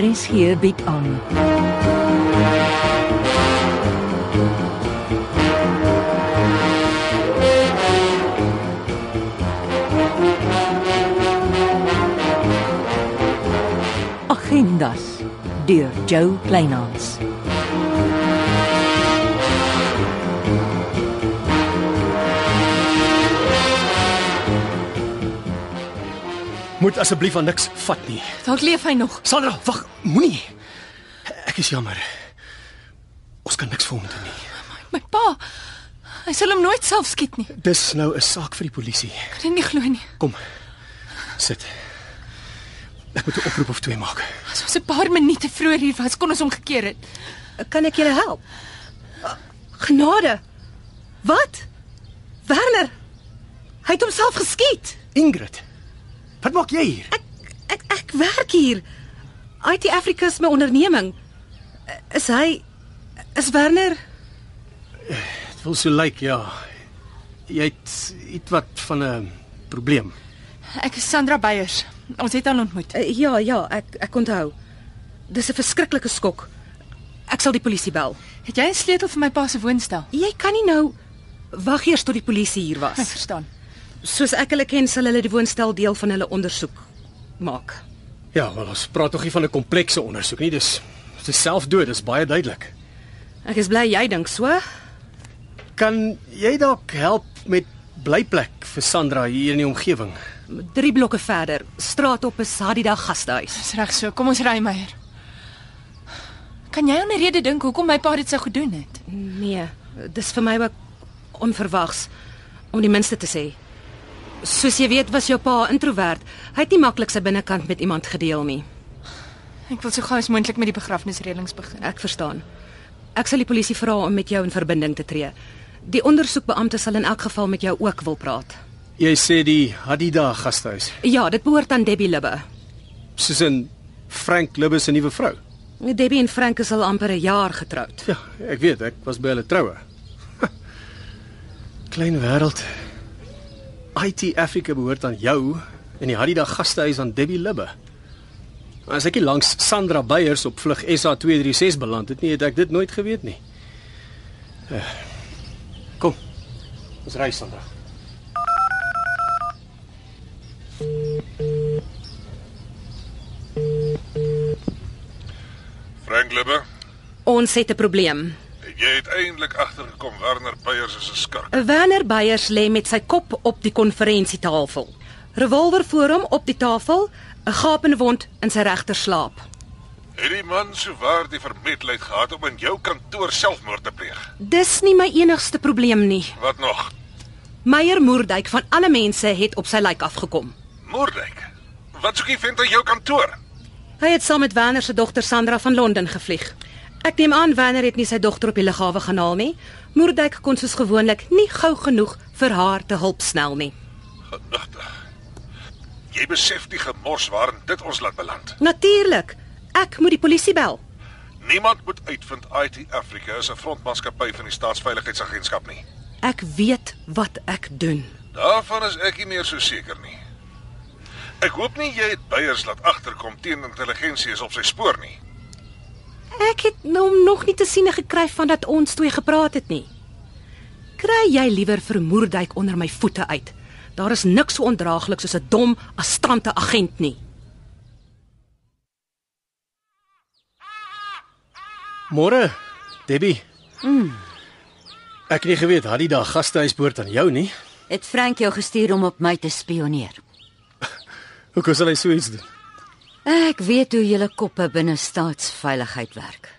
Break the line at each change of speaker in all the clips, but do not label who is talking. RSG bied aan. Agendas deur Jo Kleinhans.
Moet asseblief aan niks vat nie.
Dalk leef hy nog.
Sandra, wag, moenie. Ek is jammer. Ons kan niks vir hom doen nie.
My pa. Hy sal hom nooit self skiet nie.
Dis nou 'n saak vir die polisie.
Ek kan dit nie glo nie.
Kom. Sit. Ek moet 'n oproep of twee maak.
As ons 'n paar minute vroeër hier was, kon ons hom gekeer het.
Kan ek julle help? Genade. Wat? Werner. Hy het homself geskiet.
Ingrid. Wat maak jy hier?
Ek ek ek werk hier. IT Africa is my onderneming. Eh, Is hy is Werner?
Dit voel so lyk, ja. Jy het iets wat van 'n probleem.
Ek is Sandra Beyers. Ons het al ontmoet.
Uh, ja, ja, ek ek onthou. Dis 'n verskriklike skok. Ek sal die polisie bel.
Het jy 'n sleutel vir my pa se woonstel?
Jy kan nie nou wag eers tot die polisie hier
Ek
was.
verstaan.
Soos ek hulle ken, sal hulle die woonstel deel van hulle ondersoek maak.
Ja, wel ons praat tog hier van 'n komplekse ondersoek nie, dis dis selfdood, dis baie duidelik.
Ek is bly jy dink so.
Kan jy dalk help met blyplek vir Sandra hier in die omgewing?
3 blokke verder, straat op is Hadida gastehuis.
Dis reg so. Kom ons ry Meyer. Kan jy aan 'n rede dink hoekom my pa dit sou gedoen het?
Nee, dis vir my ook onverwags om die minste te sê. Soos jy weet, was jou pa 'n introwert. Hy het nie maklik sy binnekant met iemand gedeel nie.
Ek wil so gou as moontlik met die begrafnisreëlings begin.
Ek verstaan. Ek sal die polisie vra om met jou in verbinding te tree. Die ondersoekbeampte sal in elk geval met jou ook wil praat.
Jy sê die Hadida gastehuis.
Ja, dit behoort aan Debbie Libbe.
soos in Frank Libbe se nuwe vrou.
Debbie en Frank is al amper 'n jaar getroud.
Ja, ek weet, ek was by hulle troue. Klein wêreld. IT Africa behoort aan jou en die Hadida gastehuis aan Debbie Libbe. Maar as ek hier langs Sandra Beyers op vlug SA236 beland het nie, het ek dit nooit geweet nie. Eh, Kom. Ons ry Sandra.
Frank Libbe,
Ons het 'n probleem.
jy het eindelik agtergekom Werner Beyers is 'n skurk.
Werner Beyers lê met sy kop op die konferensietafel. Revolver voor hom op die tafel, 'n gapende wond in sy regter slaap.
Het die man souwaar die vermetlikheid gehad om in jou kantoor selfmoord te pleeg?
Dis nie my enigste probleem nie.
Wat nog?
Meyer Moerdijk van alle mense het op sy lijk afgekom.
Moordwyk. Wat soek jy vind aan jou kantoor?
Hy het saam met Werner se dogter Sandra van Londen gevlieg. Ek neem aan Werner het nie sy dogter op die lughawe gaan haal nie. Moerdijk kon soos gewoonlik nie gou genoeg vir haar te hulp snel nie.
Genigtig. Jy besef die gemors waarin dit ons laat beland.
Natuurlik, ek moet die polisie bel.
Niemand moet uitvind IT Africa is 'n frontmaatskappy van die Staatsveiligheidsagentskap nie.
Ek weet wat ek doen.
Daarvan is ek nie meer so seker nie. Ek hoop nie jy het Beyers laat agterkom teen intelligensie is op sy spoor nie.
Ek het hom nog nie te sien gekry van dat ons twee gepraat het nie. Kry jy liewer vir Moerdijk onder my voete uit. Daar is niks so ondraaglik soos 'n dom astante agent nie.
Môre, Debbie. Mm. Ek het nie geweet Hadida gastehuis behoort aan jou nie.
Het Frank jou gestuur om op my te spioneer?
Hoe kon hulle so iets doen?
Ek weet hoe julle koppe binne staatsveiligheid werk.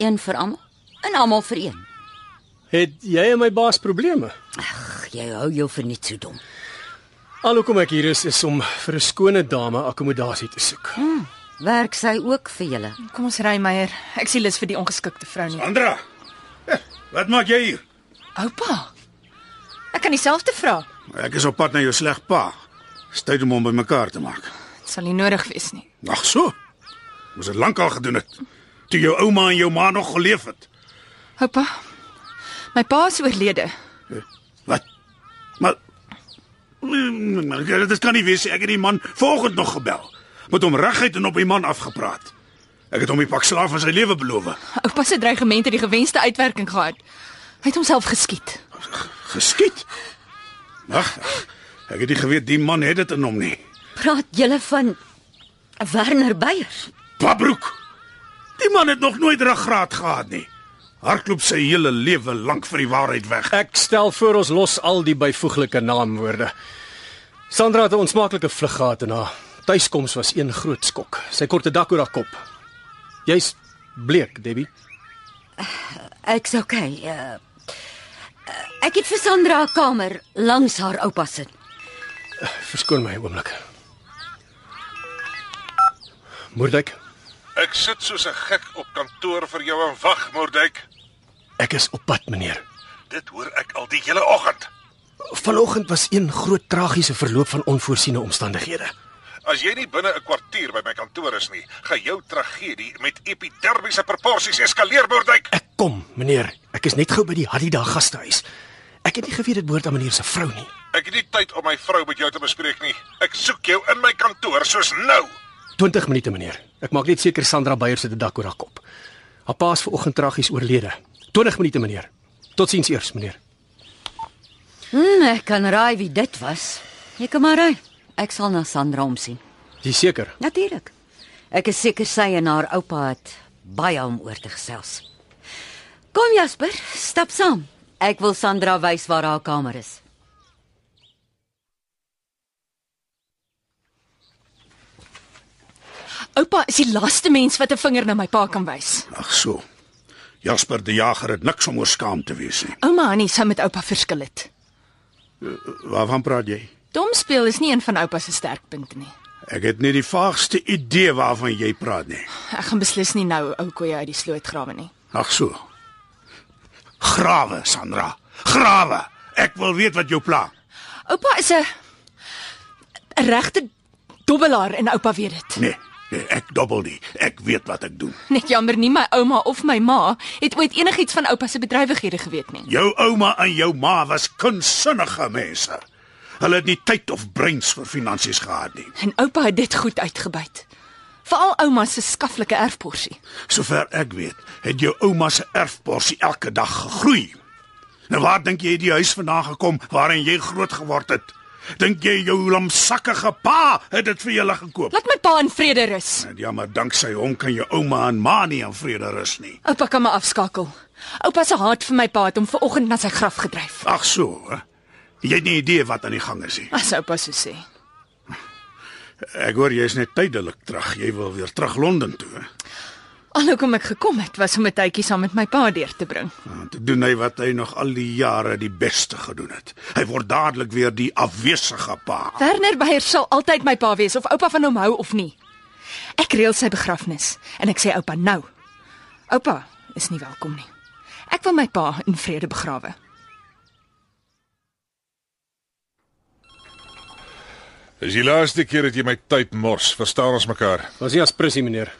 Een vir almal en almal vir een.
Het jy en my baas probleme?
Ag, jy hou jou vir net so dom.
Alhoekom ek hier is is om vir 'n skone dame akkommodasie te soek.
Werk sy ook vir julle?
Kom ons ry Meyer. Ek sien lus vir die ongeskikte vrou nie.
Andra. Wat maak jy hier?
Oupa. Ek kan dieselfde vra.
Ek is op pad na jou sleg pa. Styd om hom bymekaar te maak.
Dit sal nie nodig wees nie.
Ag so. Moes dit lankal gedoen het. Toe jou ouma en jou ma nog geleef het.
Oupa. My pa is oorlede.
Wat? Maar Mm, maar dit kan nie wees nie. ek het die man vanoggend nog gebel. Met hom reguit en op die man afgepraat. Ek het hom die pak slaaf van sy lewe beloof.
Oupa se dreigement het die gewenste uitwerking gehad. Hy het homself geskiet.
Geskiet. Wag. Ek het nie geweet die man het dit in hom nie.
Praat julle van Werner Beyers?
Babroek. Die man het nog nooit ruggraat gehad nie. Hardloop sy hele lewe lank vir die waarheid weg.
Ek stel voor ons los al die byvoeglike naamwoorde. Sandra het 'n onsmaaklike vlug gehad en haar tuiskoms was een groot skok. Sy korte dak oor haar kop. Jy's bleek, Debbie.
Ek's okay. Uh, ek het vir Sandra 'n kamer langs haar oupa se.
Verskoon my 'n oomblik. Moordek,
Ek sit soos 'n gek op kantoor vir jou en wag, Moordwyk.
ek is op pad, meneer.
Dit hoor ek al die hele oggend.
Vanoggend was een groot tragiese verloop van onvoorsiene omstandighede.
As jy nie binne 'n kwartier by my kantoor is nie, gaan jou tragedie met epidermiese proporsies eskaleer, Moordwyk.
Ek kom, meneer. Ek is net gou by die Hadida gastehuis. Ek het nie geweet dit behoort aan meneer se vrou nie.
Ek het nie tyd om my vrou met jou te bespreek nie. Ek soek jou in my kantoor soos nou.
20 minute, meneer. Ek maak net seker Sandra Beyers het 'n dak oor haar kop. Haar pa is vanoggend tragies oorlede. 20 minute, meneer. Totsiens eers, meneer.
Hmm, ek kan raai wie dit was. Jy kan maar raai. Ek sal na Sandra omsien.
Jy seker?
Natuurlik. Ek is seker sy en haar oupa het baie om oor te gesels. Kom Jasper, stap saam. Ek wil Sandra wys waar haar kamer is.
Oupa is die laaste mens wat 'n vinger na my pa kan wys.
Ag so. Jasper die Jager het niks om oor skaam te wees nie.
Ouma Annie sou met oupa verskil het.
Waarvan praat jy?
Dom speel is nie een van oupa se sterkpunte nie.
Ek het nie die vaagste idee waarvan jy praat nie.
Ek gaan beslis nie nou ou koeie uit die sloot grawe nie.
Ag so. Grawe, Sandra. Grawe. Ek wil weet wat jou pla.
Oupa is 'n 'n regte dobbelaar en oupa weet dit.
Nee, nee, ek dobbel nie. Ek weet wat ek doen.
Net jammer nie my ouma of my ma het ooit enigiets van oupa se bedrywighede geweet nie.
Jou ouma en jou ma was kunsinnige mense. Hulle het nie tyd of breins vir finansies gehad nie.
En oupa het dit goed uitgebuit. Veral ouma se skaflike erfporsie.
Sover ek weet, het jou ouma se erfporsie elke dag gegroei. Nou waar dink jy het die huis vandaan gekom waarin jy groot geword het? Dink jy jou lamsakkige pa het dit vir julle gekoop?
Laat my pa in vrede rus.
En jammer, danksy hom kan jou ouma en ma nie in vrede rus nie.
Oupa kan my afskakel. Oupa se haat vir my pa het hom vanoggend na sy graf gedryf.
Ag so. Hè? Jy het nie idee wat aan die gang is nie.
As oupa so sê.
Ek hoor jy's net tydelik terug. Jy wil weer terug Londen toe. hè?
Alhoekom ek gekom het was om 'n tydjie saam met my pa deur te bring.
Want Ah, Toe doen hy wat hy nog al die jare die beste gedoen het. Hy word dadelik weer die afwesige pa.
Werner Beyer sal altyd my pa wees of oupa van hom hou of nie. Ek reël sy begrafnis en ek sê oupa nou. Oupa is nie welkom nie. Ek wil my pa in vrede begrawe.
Dis die laaste keer dat jy my tyd mors, verstaan ons mekaar.
Was nie as prissie, meneer.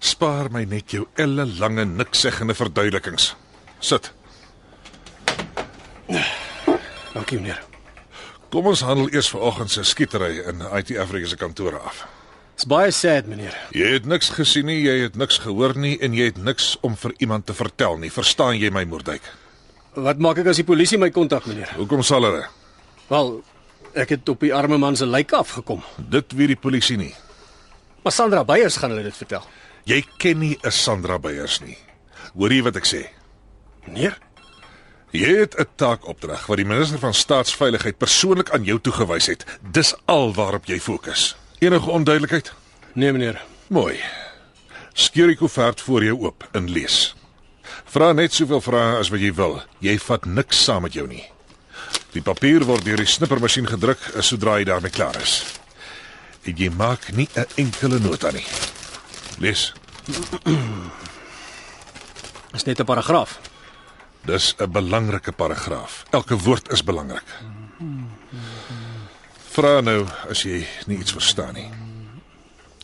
Spaar my net jou ellelange niksseggende verduidelikings. Sit.
Dankie, meneer.
Kom ons handel eers vanoggend se skietery in IT Africa se kantore af.
Dit's baie sad, meneer.
Jy het niks gesien nie, jy het niks gehoor nie en jy het niks om vir iemand te vertel nie. Verstaan jy my, Moordwyk?
Wat maak ek as die polisie my kontak, meneer?
Hoekom sal hulle?
Wel, ek het op die arme man se lijk afgekom.
Dit weet die polisie nie.
Maar Sandra Beyers gaan hulle dit vertel.
Jy ken nie 'n Sandra Beyers nie. Hoor jy wat ek sê?
Meneer,
Jy het 'n taakopdrag wat die minister van staatsveiligheid persoonlik aan jou toegewys het. Dis al waarop jy fokus. Enige onduidelikheid?
Nee, meneer.
Mooi. Skeur die koevert voor jou oop en lees. Vra net soveel vrae as wat jy wil. Jy vat niks saam met jou nie. Die papier word deur die snippermasjien gedruk eh, sodra jy daarmee klaar is. En jy maak nie 'n enkele nota nie. Lees.
Dis net 'n paragraaf.
Dis 'n belangrike paragraaf. Elke woord is belangrik. Vra nou as jy nie iets verstaan nie.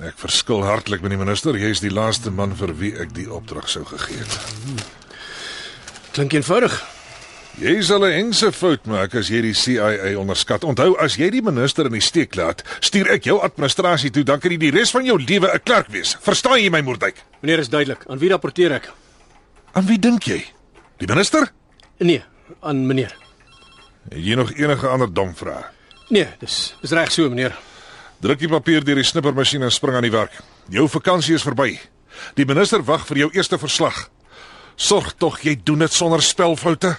Ek verskil hartlik met die minister. Jy is die laaste man vir wie ek die opdrag sou gegee het.
Klink eenvoudig.
Jy sal 'n ense fout maak as jy die CIA onderskat. Onthou, as jy die minister in die steek laat, stuur ek jou administrasie toe, dan kan jy die res van jou lewe 'n klerk wees. Verstaan jy my, Moerdijk?
Meneer is duidelik. Aan wie rapporteer ek?
Aan wie dink jy? Die minister?
Nee, aan meneer.
Het jy nog enige ander dom vrae?
Nee, dis dis reg so, meneer.
Druk die papier deur die snippermasjien en spring aan die werk. Jou vakansie is verby. Die minister wag vir jou eerste verslag. Sorg tog jy doen dit sonder spelfoute.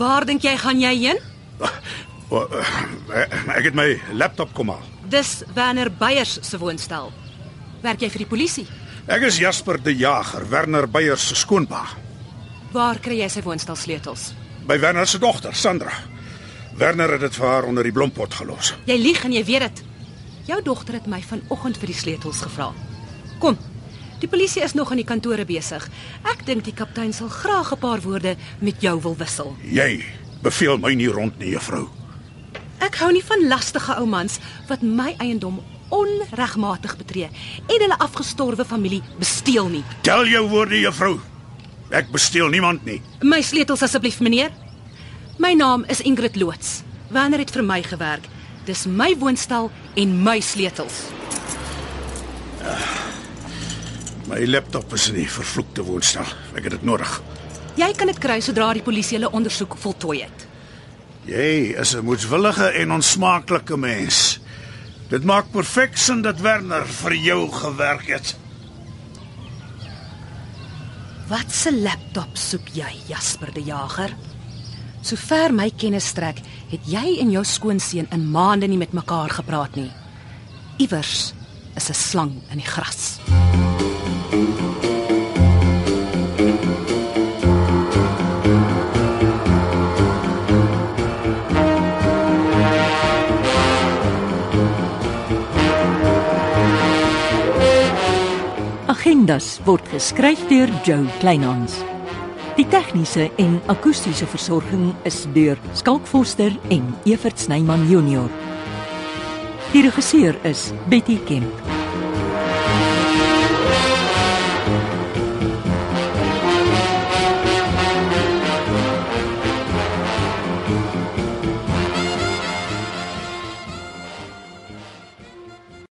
Waar dink jy gaan jy heen?
O, eh, Ek het my laptop kom haal.
Dis Werner Beyers se woonstel. Werk jy vir die polisie?
Ek is Jasper die Jager, Werner Beyers se skoonpa.
Waar kry jy sy woonstel sleutels?
By Werner se dogter, Sandra. Werner het dit vir haar onder die blompot gelos.
Jy lieg en jy weet dit. Jou dogter het my vanoggend vir die sleutels gevra. Kom. Die polisie is nog in die kantore besig. Ek dink die kaptein sal graag 'n paar woorde met jou wil wissel.
Jy beveel my nie rond nie, juffrou.
Ek hou nie van lastige ou mans wat my eiendom onregmatig betree en hulle afgestorwe familie besteel nie.
Tel jou woorde, juffrou. Ek besteel niemand nie.
My sleutels asseblief, meneer. My naam is Ingrid Loots. Wanneer het vir my gewerk? Dis my woonstel en my sleutels.
My laptop is in die vervloekte woonstel. Ek het dit nodig.
Jy kan dit kry sodra die polisie hulle ondersoek voltooi het.
Jy is 'n moedswillige en onsmaaklike mens. Dit maak perfek sin dat Werner vir jou gewerk het.
Wat se laptop soek jy, Jasper die Jager? Sover my kennis strek, het jy en jou skoonseun in maande nie met mekaar gepraat nie. Iewers is 'n slang in die gras.
Agendas word geskryf deur Joe Kleinhans. Die tegniese en akoestiese versorging is deur Skalk Forster en Evert Snyman Junior. Die regisseur is Betty Kemp.